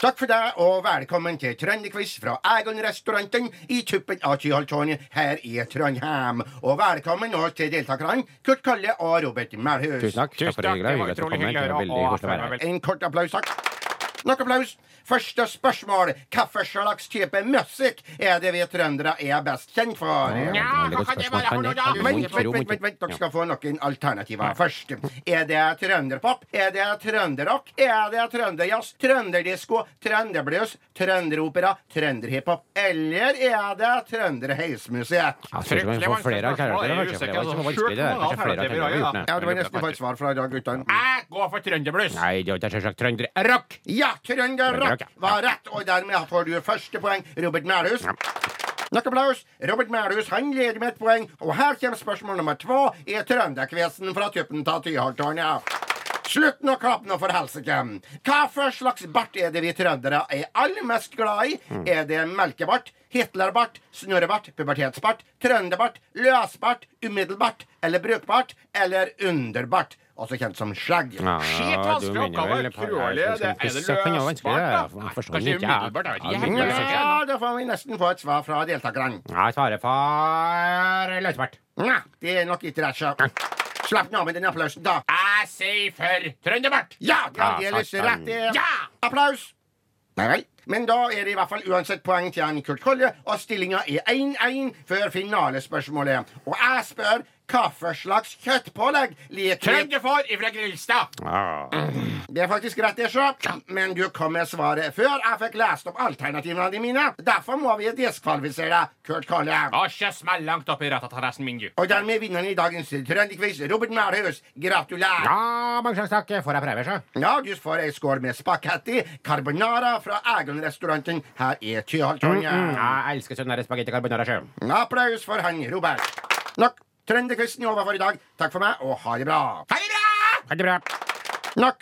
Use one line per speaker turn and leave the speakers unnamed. Takk for det, og velkommen til Trønderquiz fra Egon-restauranten i tuppen av Tyholttårnet her i Trondheim. Og velkommen nå til deltakerne Kurt Kalle og Robert Melhus.
Tusen takk.
Tusen
takk for det,
takk,
hyggelig.
det var
Hyggelig at du
utrolig
kom her. Det
hyggelig å høre.
var veldig
Å,
koselig å være
farvel.
her.
En kort applaus, takk. Nok applaus. Første spørsmål. Hvilken slags type musikk er det vi trøndere er best kjent for?
Ja,
Ja,
det var et
hva kan det
veldig godt
være for
spørsmål. eh,
noe, da?
Kan jeg-
Vent, vent,
Tro meg
vent,
ikke.
vent, vent. dere skal få noen alternativer først. Er det trønderpop? Er det trønderrock? Er det trønderjazz? Trønderdisko? Trønderblues? Trønderopera? Trønderhiphop? Eller er det trønderheismusikk?
Ja, tror ikke man får flere alternativer, kanskje, for det var ikke så vanskelig, det. Kanskje flere alternativer vi har gjort, nei.
Ja, det var nesten bare et svar fra i dag, guttene.
Jeg går for trønderbluss.
Nei, det er selvsagt trønderrock!
Ja, trønderrock var rett, og dermed får du første poeng, Robert Melhus. Nok applaus. Robert Melhus han leder med et poeng, og her kommer spørsmål nummer to i Trønderkvesen fra tuppen av Tyholttårnet. Slutt nå klappen og for helsike! Hva for slags bart er det vi trøndere er aller mest glad i? Er det melkebart, Hitlerbart, snørrebart, pubertetsbart, trønderbart, løsbart, umiddelbart eller brukbart eller underbart? Også kjent som skjegg.
Ja,
Shit,
du
vanskelig
mener
oppgave,
vel på-
utrolig.
jeg synes
Det- er det
fiskesetting er vanskelig,
løsbart, da?
jeg forstår
Kanskje
ikke, jeg.
umiddelbart, jeg vet
Ja,
ikke. Jeg
det er sikkert.
Ja, da får vi nesten få et svar fra deltakerne.
Jeg svarer for løsbart.
Nei, det er nok ikke ræsja. Slapp nå av med den applausen, da.
Jeg sier for trønderbart.
Ja, det
Ja,
er litt
satan.
rett, det.
Ja!
Applaus. Nei vel. Men da er det i hvert fall uansett poeng til han Kurt Kolle, og stillinga er 1-1 før finalespørsmålet. Og jeg spør hva for slags kjøttpålegg liker vi?
Trønderfår ifra Grilstad.
Det er faktisk rett, det, sjø. Men du kom med svaret før jeg fikk lest opp alternativene mine. Derfor må vi diskvalifisere deg, Kurt Kolle.
Å, kjøss meg langt oppi ratatarassen min, du.
Og dermed vinneren i dagens Trønderquiz, Robert Melhus. Gratulerer.
Ja, mange slags takk. Får jeg prøve, så?
Ja, du får ei skål med spagetti carbonara fra Egon-restauranten her i
Mm,
Tyholttårnet.
Jeg elsker sånn der spagetti carbonara sjø.
Applaus for han Robert. Nok Trønderquizen over for i dag. Takk for meg, og ha det bra.
Ha det bra!
Ha det bra.
Nok